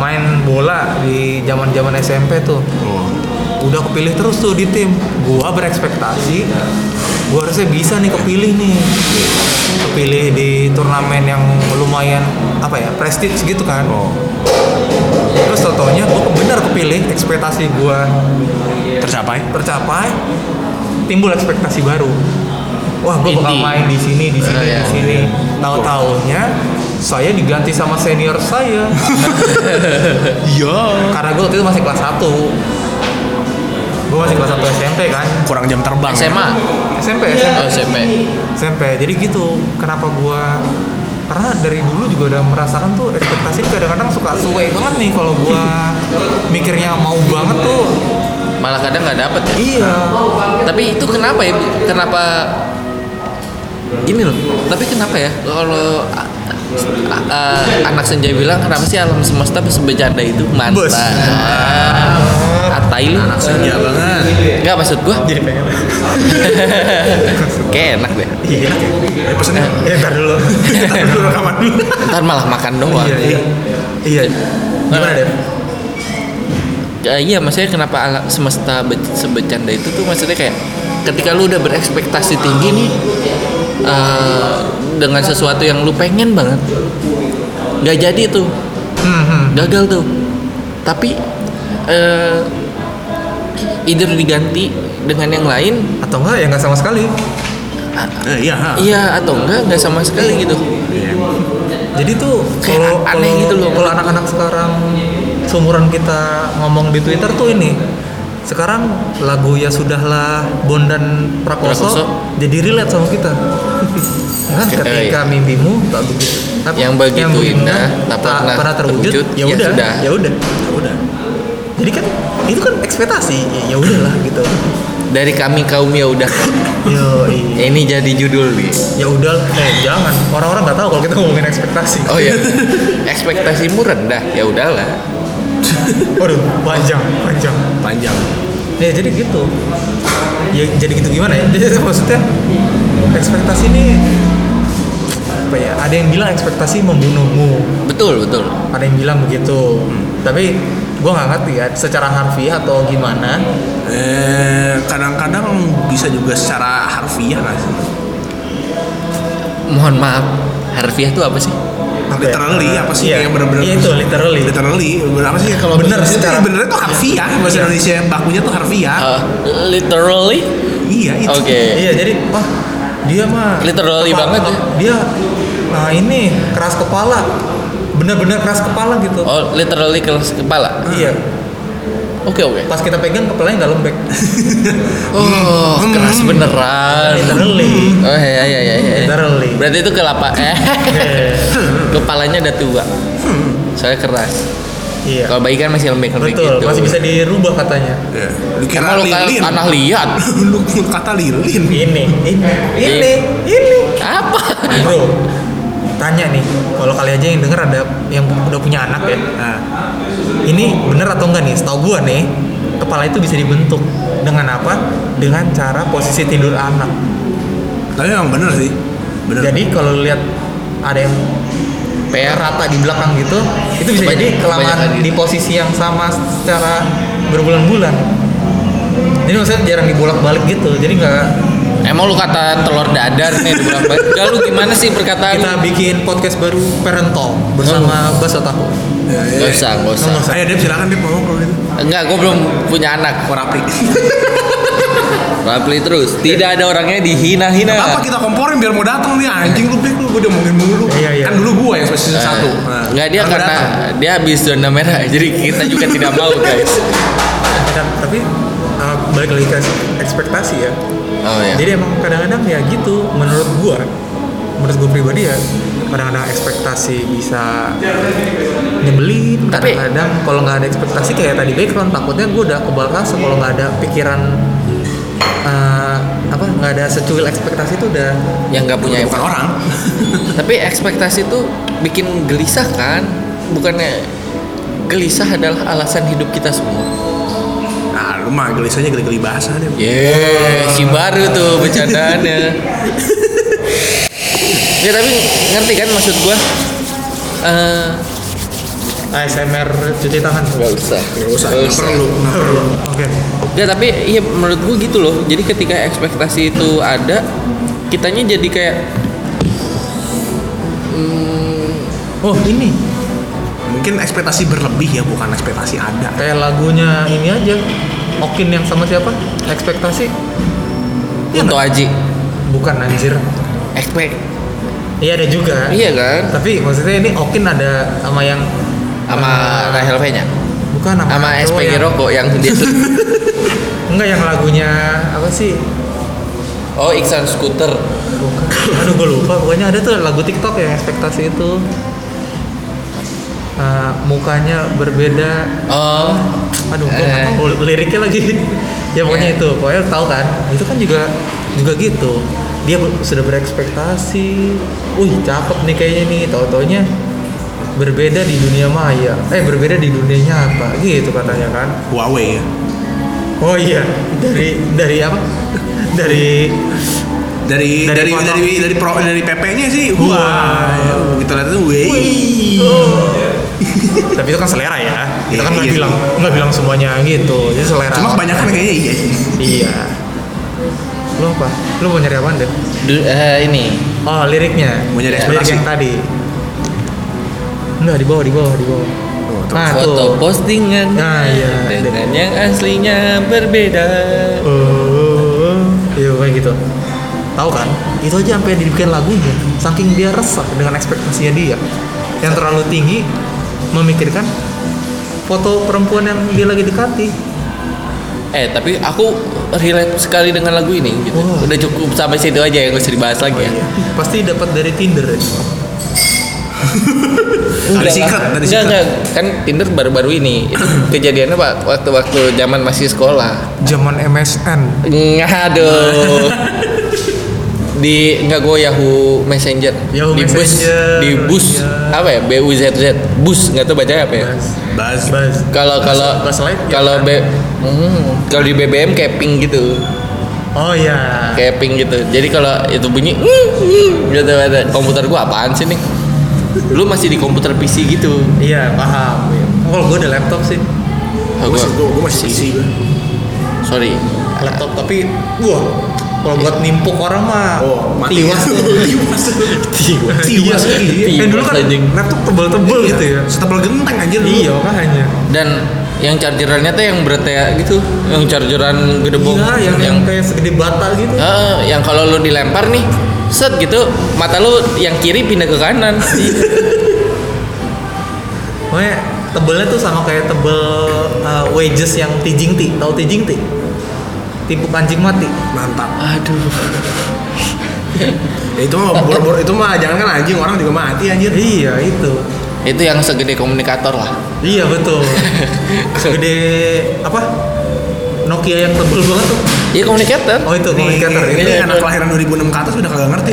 A: main bola di zaman zaman SMP tuh, udah kepilih terus tuh di tim. Gue berekspektasi, gue harusnya bisa nih kepilih nih, kepilih di turnamen yang lumayan apa ya prestige gitu kan. Terus totalnya gue bener kepilih, ekspektasi gue
C: Tercapai.
A: tercapai timbul ekspektasi baru wah gue bakal
B: Inti.
A: main di sini di sini
B: Ah, iya.
A: di sini tahu tahunya saya diganti sama senior saya
C: Iya.
B: Iya.
A: karena gue waktu itu masih kelas 1 gue masih kelas 1 SMP kan
C: kurang jam terbang ya.
B: SMA
A: SMP
B: oh,
A: SMP
B: SMP
A: SMP jadi gitu kenapa gue karena dari dulu juga udah merasakan tuh ekspektasi tuh kadang-kadang suka suwe banget nih kalau gue mikirnya mau banget tuh
B: malah kadang nggak dapet ya
A: iya
B: tapi itu kenapa ya kenapa gini loh tapi kenapa ya kalau a- a- a- anak senja bilang kenapa sih alam semesta bisa bercanda itu mantap
A: Bus.
B: atai lu
C: anak senja banget
B: nggak maksud gua
A: jadi pengen
B: kayak enak deh
A: iya
C: ya pesennya
A: ya ntar dulu ntar dulu rekaman dulu
B: ntar malah makan doang
A: iya iya iya gimana deh
B: Ya, iya maksudnya kenapa alam semesta be- sebecanda itu tuh maksudnya kayak ketika lu udah berekspektasi tinggi nih eh, dengan sesuatu yang lu pengen banget nggak jadi tuh
A: hmm, hmm.
B: gagal tuh tapi eh either diganti dengan yang lain
A: atau enggak ya nggak sama sekali
C: Eh, iya ha.
B: iya atau enggak nggak sama sekali gitu
A: jadi tuh
B: Kayak
A: kalau
B: aneh
A: kalau-
B: gitu loh.
A: kalau anak-anak sekarang seumuran kita ngomong di Twitter tuh ini sekarang lagu ya sudahlah Bondan Prakoso,
B: Prakoso.
A: jadi relate sama kita kan
B: Oke,
A: ketika
B: iya.
A: mimpimu tak begitu apa-
B: Yang begitu indah, tak pernah
A: terwujud,
B: terwujud,
A: ya
B: ya
A: udah
B: sudah.
A: ya udah ya udah jadi kan itu kan ekspektasi ya ya udahlah gitu
B: dari kami kaum ya udah
A: yo
B: ini jadi judul nih
A: ya udah eh jangan orang-orang nggak tahu kalau kita ngomongin ekspektasi
B: oh iya ekspektasimu rendah ya udahlah
A: waduh panjang panjang
C: panjang
A: ya jadi gitu ya jadi gitu gimana ya jadi maksudnya ekspektasi ini apa ya ada yang bilang ekspektasi membunuhmu
B: betul betul
A: ada yang bilang begitu
B: Hmm.
A: tapi gua nggak ngerti ya secara harfiah atau gimana
C: eh kadang-kadang bisa juga secara harfiah nggak sih
B: mohon maaf harfiah itu apa sih
A: Apa ya?
C: literally apa sih
A: Iya.
C: yang benar-benar
A: Iya, itu, literally.
C: literally apa sih kalau
A: Bener
C: bahasa-
A: secara-
C: eh, bener itu harfiah bahasa
A: Iya.
C: Indonesia bakunya tuh harfiah
B: Eh, literally
C: iya itu
B: oke
A: iya jadi wah dia mah
B: Literally
A: kepala-
B: banget ya.
A: dia nah ini keras kepala bener-bener keras kepala gitu
B: oh literally keras kepala
A: iya
B: oke oke
A: pas kita pegang kepalanya nggak lembek
B: oh keras beneran
A: Hmm. literally
B: Oh iya iya iya. iya.
A: Literally.
B: Berarti itu kelapa. Eh. Kepalanya udah tua. Soalnya keras.
A: iya
B: Kalau bayi kan masih
A: Hmm.
B: lembek-lembek
A: betul
B: gitu.
A: masih bisa dirubah katanya
C: Iya. lu kira
B: Emang lu kan
C: lilin
B: tanah liat.
C: lu kata lilin
A: ini ini ini ini
B: Apa?
A: bro tanya nih kalau kali aja yang denger ada yang udah punya anak ya
C: nah
A: ini bener atau enggak nih setahu gua nih kepala itu bisa dibentuk dengan apa dengan cara posisi tidur anak
C: tapi emang bener sih bener
A: jadi kalau lihat ada yang
B: PR.
A: rata di belakang gitu itu bisa
B: Ya. Banyak-
A: jadi kelamaan
B: banyak
A: di posisi yang sama secara berbulan-bulan jadi maksudnya jarang dibolak-balik gitu jadi nggak
B: Emang lu kata telur dadar nih di bulan Maret? Enggak, lu gimana sih perkataan? Oh.
A: kita bikin podcast baru parent talk bersama Baso Tahu
C: Ya, ya.
B: Gak usah, gak usah.
C: ayo Dep silakan Dep ngomong kalau gitu
B: Enggak, gua belum punya anak.
C: korapli
B: Rapli terus. Tidak ada orangnya dihina-hina.
C: apa kita komporin biar mau datang nih anjing lu Bek lu gue udah ngomongin mulu
A: Iya, iya.
C: kan dulu gua yang spesies satu Nah,
B: Enggak Eh, dia
C: orang
B: karena
C: datang.
B: dia habis zona merah. Jadi kita juga tidak mau, guys.
A: Dan- Nah, tapi uh, balik lagi ke ekspektasi ya
B: Oh
C: iya.
B: ya.
A: jadi emang kadang-kadang ya gitu menurut gua menurut gua pribadi ya kadang-kadang ekspektasi bisa nyebelin
B: Tapi-
A: kadang-kadang kalau nggak ada ekspektasi kayak tadi background takutnya gua udah kebal kasar kalau nggak ada pikiran uh, apa nggak ada secuil ekspektasi itu udah
B: Yang nggak punya
C: bukan orang
B: Tapi ekspektasi itu bikin gelisah kan? Bukannya gelisah adalah alasan hidup kita semua.
C: nah lu mah gelisahnya geli-geli bahasa deh
B: Iya. Yeay, si baru tuh bercandaannya. ya tapi ngerti kan maksud gua? Eh,
A: ASMR cuci tangan
B: nggak
A: oke
B: usah.
C: Gak usah, gak perlu, gak perlu.
B: Ya tapi iya menurut gua gitu loh. Jadi ketika ekspektasi itu ada, kitanya jadi kayak
A: oh ini
C: Mungkin ekspektasi berlebih ya, bukan ekspektasi ada.
A: kayak lagunya ini aja Okin yang sama siapa ekspektasi Iya
B: untuk Aji
A: bukan anjir
B: expect.
A: Iya ada juga.
B: Iya kan?
A: Tapi maksudnya ini Okin ada sama yang
B: Sama
A: eh,
B: Rahel V-nya.
A: bukan
B: Sama
A: cowok
B: SPG
A: yang-
B: rokok yang dia
A: Enggak yang lagunya apa sih?
B: Oh, Iksan Scooter.
A: Bukan. Aduh gue lupa. Pokoknya ada tuh lagu TikTok yang ekspektasi itu. Eh, mukanya berbeda.
B: Oh,
A: Aduh, gue nggak
B: Eh.
A: tahu liriknya lagi. ya
C: Eh.
A: pokoknya
B: Iya.
A: itu. Pokoknya tahu kan? Itu kan juga juga gitu. Dia ber- sudah berekspektasi. Wih, cakep nih kayaknya nih. Tahu-taunya berbeda di dunia maya. Eh, berbeda di dunia nyata. Gitu katanya kan.
C: Huawei ya.
A: Oh iya, dari dari apa? Dari
C: Dari
A: Dari
C: dari dari
A: foto.
C: dari, pro, dari PP-nya sih
A: Huawei.
C: Huawei. Kita lihat itu Huawei.
A: Tapi itu kan selera ya. Kita
C: Oh. Iya,
A: kan nggak
C: iya
A: bilang
C: sih.
A: nggak bilang semuanya gitu. Jadi selera.
C: Cuma kebanyakan kayaknya iya sih.
A: Iya. Lu apa? Lu mau nyari apa deh?
B: du- eh, ini.
A: Oh liriknya.
C: Mau nyari
A: Lirik
C: ekspektasi.
A: yang tadi. Enggak di bawah, di bawah, di bawah.
C: Oh, tuh.
A: Nah,
B: Foto
A: tuh.
B: postingan
A: Nah, iya.
B: dengan yang aslinya berbeda.
A: Oh, oh, oh. Iya kayak gitu. Tahu kan? Itu aja sampai dibikin lagunya. Saking dia resah dengan ekspektasinya dia yang terlalu tinggi memikirkan foto perempuan yang dia lagi dekati.
B: Eh, tapi aku relate sekali dengan lagu ini gitu.
A: Wah.
B: Udah cukup sampai situ aja ya, gak usah dibahas lagi
A: iya.
B: ya.
A: Pasti dapat dari Tinder ya.
C: Dari
B: Enggak lah.
C: secret, dari
B: Enggak,
C: secret.
B: enggak. Kan Tinder baru-baru ini. Itu kejadiannya Pak, waktu-waktu zaman masih sekolah.
A: Zaman MSN.
B: Ngaduh. di enggak gue Yahoo Messenger.
A: Yahoo
B: di
A: Messenger,
B: bus, di bus
A: iya.
B: apa ya? BUZZ. Bus enggak tahu bacanya apa ya?
A: Bas.
C: Bas.
A: Bas.
B: Kalau kalau
A: Bas light ya
B: kalau
A: kan?
B: B hmm, kalau di BBM kayak ping gitu.
A: Oh iya.
B: Kayak ping gitu. Jadi kalau itu bunyi gitu ada. Komputer gua apaan sih nih? Lu masih di komputer PC gitu.
A: Iya, paham. Oh, Kalau gue ada laptop sih.
B: Oh, gua,
C: Gue gue gue masih isi gue.
B: sorry.
A: Laptop tapi wah, kalau buat nimpuk orang mah
C: Oh, mati.
A: liwas tuh.
C: Liwas.
A: Tiwas.
C: Tiwas.
A: Iya. Kan dulu kan
B: Tiwas, anjing.
A: laptop tebel-tebel gitu ya.
C: Setebal genteng anjir dulu.
A: Iya, makanya.
B: Dan yang chargerannya tuh yang beratnya gitu, yang chargeran gede bom,
A: Gila, Iya, yang, yang kayak segede bata gitu.
B: Ah, yang kalau lu dilempar nih, set gitu, mata lu yang kiri pindah ke kanan.
A: Pokoknya tebelnya tuh sama kayak tebel uh, wedges yang tijing ti. Tahu tijing ti? Timpuk anjing mati.
C: Mantap.
B: Aduh.
C: Ya, itu mah bor-bor itu mah jangan kan anjing orang juga mati anjir.
A: Iya, itu.
B: Itu yang segede komunikator lah.
A: Iya betul. Segede apa? Nokia yang tebel banget tuh.
B: Iya komunikator.
A: Oh itu komunikator.
C: Ini,
A: Ini
C: ini anak kelahiran 2006 ke atas udah kagak ngerti.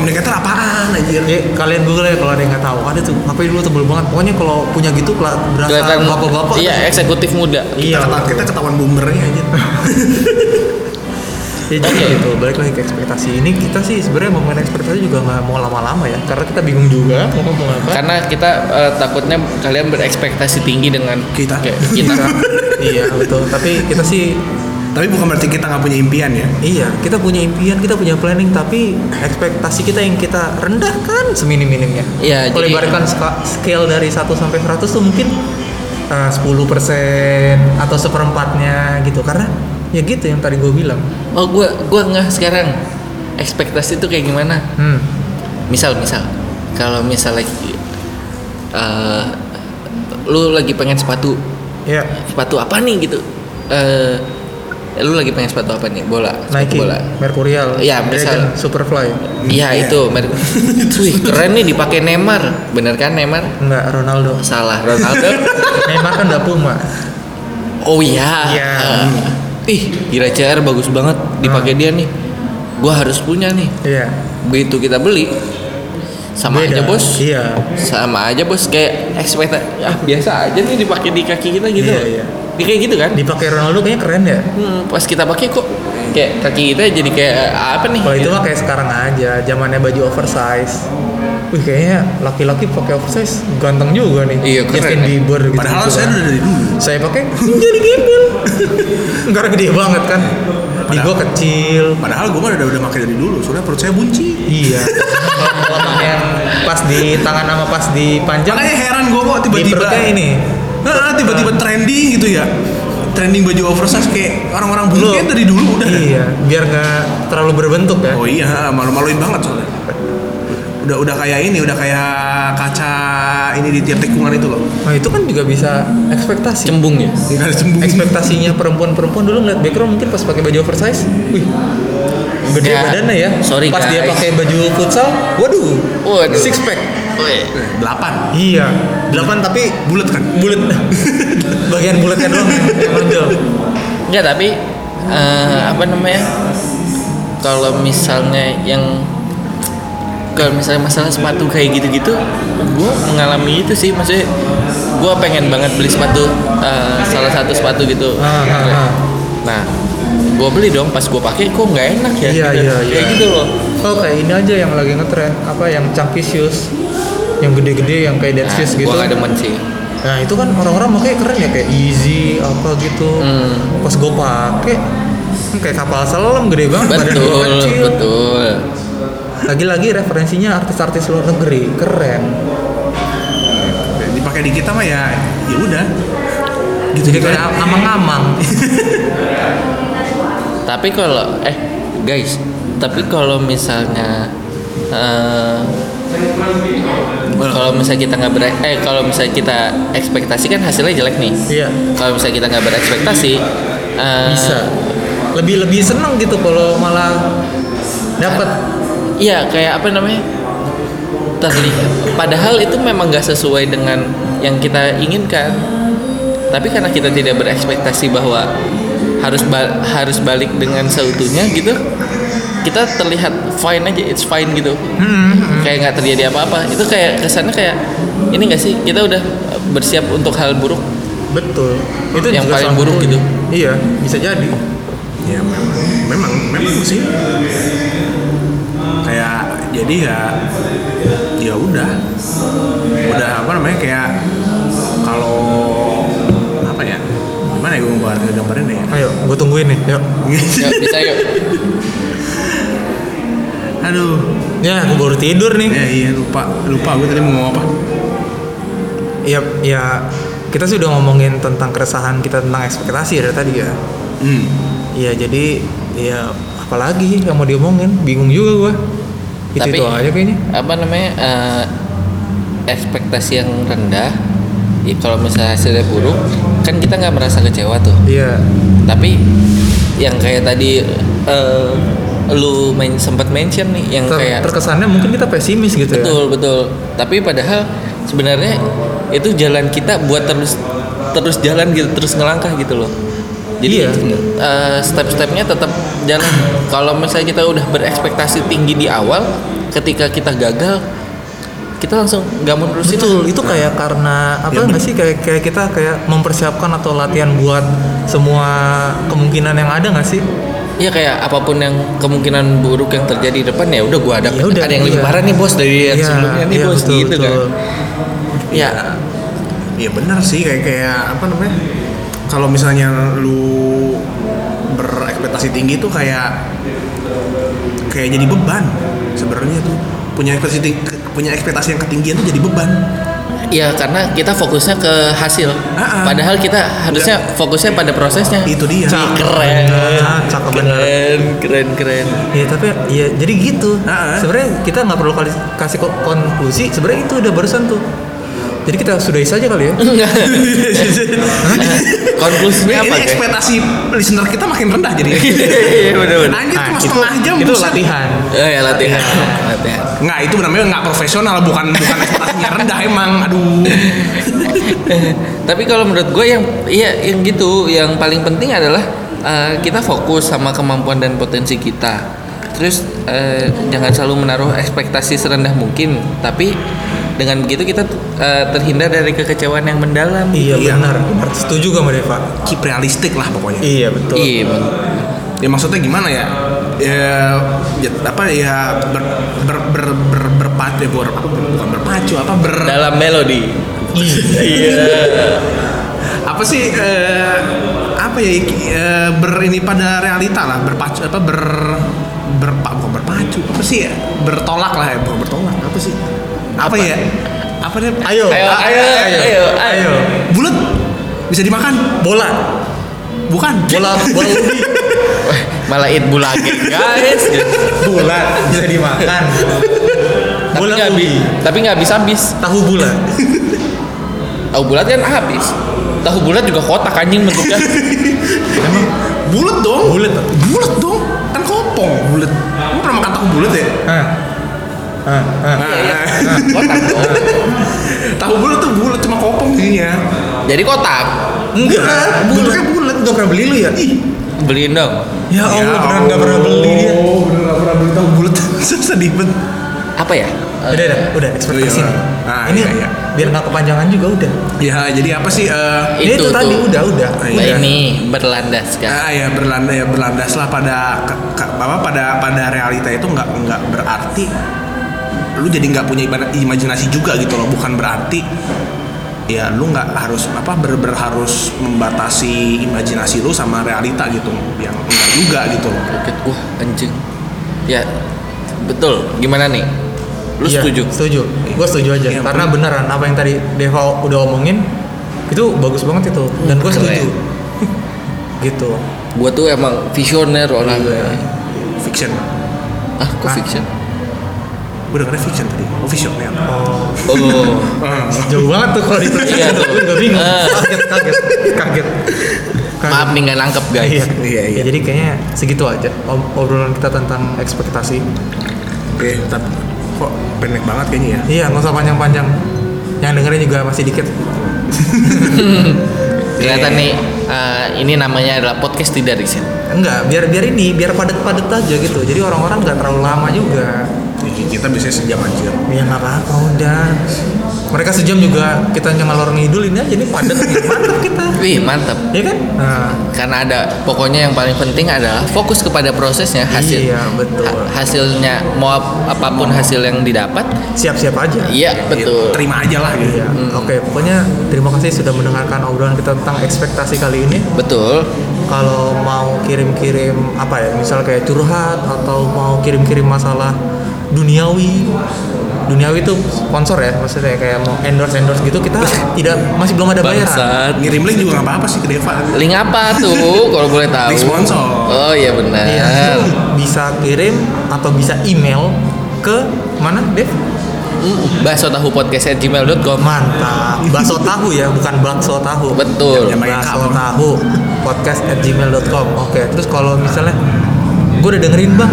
C: Komunikator apaan anjir?
A: Ya, kalian google ya kalau ada yang nggak tahu. Ada tuh HP dulu tebel banget. Pokoknya kalau punya gitu kela- berasa
B: Kelihatan
A: bapak-bapak.
B: Iya,
A: tuh.
B: eksekutif muda.
A: Iya.
C: Kita, ketahuan- kita ketahuan boomernya anjir.
A: Ya, jadi
B: Oke.
A: gitu. Balik lagi ke ekspektasi. Ini kita sih sebenarnya mau main ekspektasi juga nggak mau lama-lama ya. Karena kita bingung juga mau ngomong apa.
B: Karena kita eh, takutnya kalian berekspektasi tinggi dengan
C: Kita.
B: kayak kita.
A: iya betul. Tapi kita sih
C: Tapi bukan berarti kita nggak punya impian ya.
A: Iya, kita punya impian, kita punya planning, tapi ekspektasi kita yang kita rendahkan seminim-minimnya.
B: Iya,
A: Kalau
B: jadi-
A: ibaratkan ska- scale dari 1 sampai 100 tuh mungkin eh, 10% atau seperempatnya gitu. Karena ya gitu yang tadi gue bilang.
B: oh, gua gua nggak sekarang. Ekspektasi itu kayak gimana?
A: Hmm.
B: misal misal kalau misalnya eh, lu lagi pengen sepatu
A: Ya,
B: sepatu apa nih gitu Eh, lu lagi pengen sepatu apa nih bola sepatu
A: Nike,
B: bola
A: Mercurial,
B: Iya,
A: Dragon,
B: misal.
A: Superfly.
B: iya
C: Iya.
B: itu merek Wih, keren nih dipakai Neymar bener kan Neymar
A: Enggak, Ronaldo.
B: salah Ronaldo
A: Neymar kan enggak Puma.
B: oh iya
A: Iya.
B: Eh, ih gila CR bagus banget
A: Hmm.
B: dipakai dia nih gua harus punya nih
A: Iya.
B: begitu kita beli sama
A: Beda.
B: aja bos
A: Iya.
B: sama aja bos kayak ekspekta ah biasa aja nih dipakai di kaki kita gitu
A: Iya,
B: loh.
A: iya.
B: Ini kayak gitu kan
A: Dipakai Ronaldo kayaknya keren ya.
B: Hmm, pas kita pakai kok kayak kaki kita jadi kayak eh, apa nih
A: Kalau itu mah kayak sekarang aja, zamannya baju oversize. Wih kayaknya laki-laki pakai oversize ganteng juga nih.
B: Iya, keren
A: Justin
B: ya.
A: Bieber gitu.
C: Padahal saya udah dari dulu.
A: saya pakai jadi gembel. Karena gede banget kan. Di gua kecil.
C: Padahal gue mah udah udah pakai dari dulu. Soalnya perut saya bunci.
A: Iya. Kalau yang pas di tangan sama pas di panjang
C: Makanya heran gue kok
A: di
C: tiba-tiba
A: perutnya ini.
C: Nah, tiba-tiba trending gitu ya. Trending baju oversize kayak orang-orang
A: Lu-
C: bulu kayak dari dulu udah.
A: Iya, biar nggak Iya, terlalu berbentuk ya.
C: Oh iya, malu-maluin banget soalnya. udah udah kayak ini udah kayak kaca ini di tiap tikungan itu loh
A: Nah itu kan juga bisa ekspektasi.
B: Cembung ya?
C: nggak ada cembung
A: ekspektasinya perempuan-perempuan dulu ngeliat background mungkin pas pakai baju oversize, wih gede
B: Ya,
A: badannya ya.
B: sorry,
A: pas dia
B: guys.
A: pakai baju futsal, waduh,
B: Waduh.
A: six pack.
B: Woi.
C: Eh, delapan
A: Iya, delapan tapi
C: bulat kan
A: bulat. Bagian bulatnya doang yang yang menonjol.
B: Enggak tapi eh, apa namanya? Kalau misalnya yang kalau misalnya masalah sepatu kayak gitu-gitu, gue mengalami itu sih maksudnya gue pengen banget beli sepatu eh, salah satu sepatu gitu.
A: Ah, ah, ah.
B: Nah, gue beli dong pas gue pakai kok nggak enak ya?
A: Iya,
B: gitu.
A: iya, iya.
B: Kayak gitu loh.
A: Oh kayak ini aja yang lagi ngetren, apa yang chunky shoes, yang gede-gede yang kayak dance
B: Nah,
A: shoes
B: gue
A: gitu.
B: gak demen sih.
A: Nah itu kan orang-orang makanya keren ya kayak easy apa gitu.
B: Hmm.
A: Pas gue pakai kan kayak kapal selam gede banget badan gua
B: Betul,
A: kecil.
B: betul.
A: Lagi-lagi referensinya artis-artis luar negeri keren.
C: dipakai di kita mah ya ya udah
A: Gitu jadi kayak
C: ya.
A: amang-amang.
B: Tapi kalau eh guys, tapi kalau misalnya eh, kalau misalnya kita nggak ber eh kalau misalnya kita ekspektasi kan hasilnya jelek nih.
A: Iya.
B: Kalau misalnya kita nggak berekspektasi eh,
A: Bisa. Lebih lebih seneng gitu kalau malah dapat
B: Iya kayak apa namanya terlihat. Padahal itu memang nggak sesuai dengan yang kita inginkan. Tapi karena kita tidak berekspektasi bahwa harus ba- harus balik dengan seutuhnya gitu, kita terlihat fine aja, it's fine gitu.
A: Hmm.
B: Kayak nggak terjadi apa-apa. Itu kayak kesannya kayak ini nggak sih kita udah bersiap untuk hal buruk.
A: betul. Itu
B: Yang
A: juga
B: paling
A: salah
B: buruk
A: satunya.
B: gitu.
A: Iya bisa jadi.
C: ya memang memang memang sih kayak jadi ya ya udah udah apa namanya kayak kalau apa ya gimana ya gue gambar gambarin deh ya
A: Ayo gue tungguin nih. Yuk.
B: Ya, bisa yuk.
C: aduh
A: Ya gue baru tidur nih.
C: ya iya lupa lupa gue tadi mau ngomong apa
A: Ya ya kita sih udah ngomongin tentang keresahan kita tentang ekspektasi dari tadi ya.
C: hmm.
A: Iya jadi ya apalagi yang mau diomongin bingung juga gue. Itu itu
B: Tapi-
A: aja kayaknya.
B: apa namanya eh, ekspektasi yang rendah ya kalau misalnya hasilnya buruk kan kita nggak merasa kecewa tuh
A: Iya.
B: tapi yang kayak tadi eh, lu main sempat mention nih yang
A: Ter-
B: kayak
A: terkesannya mungkin kita pesimis gitu ya.
B: betul betul tapi padahal sebenarnya itu jalan kita buat terus terus jalan gitu terus ngelangkah gitu loh jadi
A: Iya.
B: eh, step-stepnya tetap jalan kalau misalnya kita udah berekspektasi tinggi di awal ketika kita gagal kita langsung nggak mau nerusin
A: Betul, itu kayak karena apa
C: Ya,
A: nggak sih kayak kayak kita kayak mempersiapkan atau latihan buat semua kemungkinan yang ada nggak sih?
B: ya kayak apapun yang kemungkinan buruk yang terjadi di depan ya udah gua ada
A: Ya udah,
B: ada yang lebih
A: iya.
B: parah nih bos dari yang
A: Iya,
B: sebelumnya nih
A: iya,
B: bos
A: betul,
B: gitu
A: betul.
B: kan ya
C: Iya benar sih kayak kayak apa namanya? Kalau misalnya lu berekspektasi tinggi tuh kayak kayak jadi beban sebenarnya tuh punya ekspektasi ting- punya ekspektasi yang ketinggian tuh jadi beban.
B: ya karena kita fokusnya ke hasil
C: Ah, ah.
B: padahal kita harusnya fokusnya pada prosesnya
C: Itu dia.
B: Ih, keren
A: Bener, Nah, cakep bener.
B: keren keren keren
A: Ya tapi ya jadi gitu.
C: Ah, ah.
A: Sebenarnya kita nggak perlu kali kasih ko- konklusi. Sebenarnya itu udah barusan tuh. Jadi kita sudahi saja kali ya.
B: konklusinya
C: Ini,
B: apa
C: ini
B: guys?
C: ekspektasi listener kita makin rendah jadi.
B: Iya, bener-bener.
C: Anjir
A: Nah,
C: cuma
A: itu-
C: setengah jam
A: Itu
C: buset.
A: latihan.
B: oh, ya latihan
C: Iya.
B: latihan
C: Nggak, itu namanya nggak profesional, bukan bukan ekspektasinya rendah emang. Aduh.
B: tapi kalau menurut gue yang iya yang gitu yang paling penting adalah eh, kita fokus sama kemampuan dan potensi kita terus eh, jangan selalu menaruh ekspektasi serendah mungkin tapi dengan begitu kita eh, terhindar dari kekecewaan yang mendalam
A: Iya
C: Iya.
A: benar. benar. Setuju gak sama Deva?
C: Keep realistik lah pokoknya.
A: Iya betul.
B: Iya, bener.
C: ya maksudnya gimana ya ya, ya apa ya ber, ber, ber, ber, berpacu ber, apa, bukan berpacu apa ber Iya.
B: dalam melodi
C: apa sih eh, apa ya eh, ber ini pada realita lah berpacu apa ber berpa bukan berpacu apa sih ya bertolak lah ya bukan bertolak apa sih apa, ya apa Ah, deh
A: Ayo,
B: Ayo,
A: a-
B: ayo, ayo, ayo.
C: bulat bisa dimakan
A: Bola,
C: bukan
A: bola, bola ubi.
B: malah it bulage guys
A: bola bisa dimakan.
B: tapi
A: Bola
B: nggak habis
A: ubi.
B: tapi nggak habis habis
A: Tahu bulat.
B: tahu bulat kan habis tahu bulat juga kotak anjing bentuknya
A: Emang
C: bulat dong
A: bulat.
C: bulat dong kan kopong bulat lu pernah makan tahu bulat ya
A: Ah. Ah, ah.
B: Iya, iya. kotak dong
C: tahu bulat tuh bulat cuma kopong jadinya
B: jadi kotak
A: Enggak,
C: Bulat, bentuknya bulat.
A: Gak pernah beli lu ya?
B: beliin dong
A: Ya Allah, benar gak pernah beli dia.
C: oh bener nggak pernah beli tahu bulat sedih banget
B: apa ya Eh,
A: Udah, udah, udah, ekspektasi
C: Iya.
A: nih.
C: Ah,
A: ini
C: iya, iya.
A: biar nggak kepanjangan juga udah.
C: ya jadi apa sih eh,
A: Itu, itu
B: tuh.
A: tadi udah, udah.
C: Ah,
B: Nah,
A: udah.
C: iya.
B: ini berlandaskan
C: Ah ya berlandas ya berlandaslah pada ke- ke- apa pada pada realita itu nggak nggak berarti lu jadi nggak punya iba- imajinasi juga gitu loh bukan berarti ya lu nggak harus apa bener-bener harus membatasi imajinasi lu sama realita gitu yang enggak juga gitu loh
B: Kaget wah anjing. Ya betul. Gimana nih? Lu
A: Iya,
B: setuju?
A: Setuju. Gue setuju aja.
C: Iya,
A: Karena beneran apa yang tadi Deva udah omongin itu bagus banget itu. Dan gue setuju.
B: ya.
A: gitu.
B: Gua tuh emang visioner orang.
C: fiction
B: Ah, kok
A: Iya. Ah.
B: fiction?
C: gue dengernya fiction tadi oh fiction ya
A: Oh,
B: Oh.
A: jauh banget tuh kalau itu.
B: Iya, tuh.
A: Gue bingung.
B: Ah.
A: Kaget, kaget, kaget. Kaget.
B: Maaf nih nggak nangkep guys.
A: Iya,
C: Iya, iya.
A: Ya, jadi kayaknya segitu aja ob- obrolan kita tentang ekspektasi.
C: oke tapi kok pendek banget kayaknya ya
A: Iya, nggak usah panjang-panjang. Yang dengerin juga masih dikit.
B: Kelihatan nih eh, ini namanya adalah podcast tidak riset.
A: Enggak, biar biar ini, biar padat-padat aja gitu. Jadi orang-orang nggak terlalu lama juga.
C: Jadi Iya, kita biasanya sejam anjir
A: Ya nggak apa-apa udah. Mereka sejam juga kita ngalor ngidul ini aja ini padat mantap kita.
B: Wih, mantap.
A: Ya kan? Nah,
B: Karena ada pokoknya yang paling penting adalah fokus kepada prosesnya, hasil.
A: Iya, betul.
B: ha- hasilnya mau ap- apapun hasil yang didapat.
A: siap-siap aja.
B: Iya, Hmm. betul.
C: terima aja lah gitu
A: Iya. Oke, pokoknya terima kasih sudah mendengarkan obrolan kita tentang ekspektasi kali ini.
B: Betul.
A: kalau mau kirim-kirim apa ya misal kayak curhat atau mau kirim-kirim masalah duniawi duniawi itu sponsor ya maksudnya kayak mau endorse endorse gitu kita tidak masih belum ada bayaran
B: Bangsat.
C: ngirim link juga nggak apa-apa sih ke Deva
B: Link apa tuh kalau boleh tahu?
C: Link sponsor.
B: Oh iya benar.
A: Iya, bisa kirim atau bisa email ke mana Dev
B: Bakso tahu podcast gmail.com.
A: mantap bakso tahu ya bukan bakso tahu
B: Betul.
C: Yang pakai
A: bakso
C: kamu.
A: tahu podcast at gmail.com oke terus kalau misalnya gue udah dengerin bang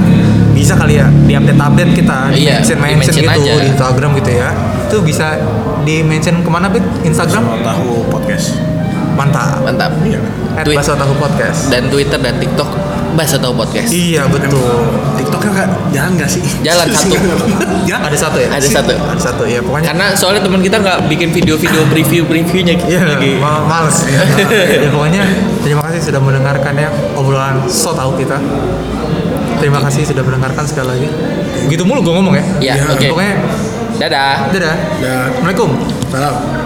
A: bisa kali ya di update update kita di
B: Iya,
A: mention mention
B: di-mention
A: gitu
B: aja.
A: di instagram gitu ya itu bisa di mention kemana Pit? instagram
C: Soal tahu podcast
A: mantap
B: Mantap.
C: Iya.
A: at
B: Tweet
A: Bakso tahu podcast
B: dan Twitter dan TikTok Bakso tahu podcast.
A: iya betul
C: TikToknya nggak jalan nggak sih?
B: Jalan satu.
C: jalan.
A: ada satu ya
B: Ada satu.
A: ada satu ya pokoknya
B: Karena soalnya teman kita nggak bikin video-video preview-previewnya gitu.
A: Iya, ma- males ya. Ya, pokoknya terima kasih sudah mendengarkan ya obrolan so tahu kita. Terima kasih sudah mendengarkan sekali lagi. Begitu mulu gue ngomong ya.
B: Iya, oke.
A: Pokoknya
B: Dadah.
A: dadah.
C: Dah.
A: Assalamualaikum.
C: Salam.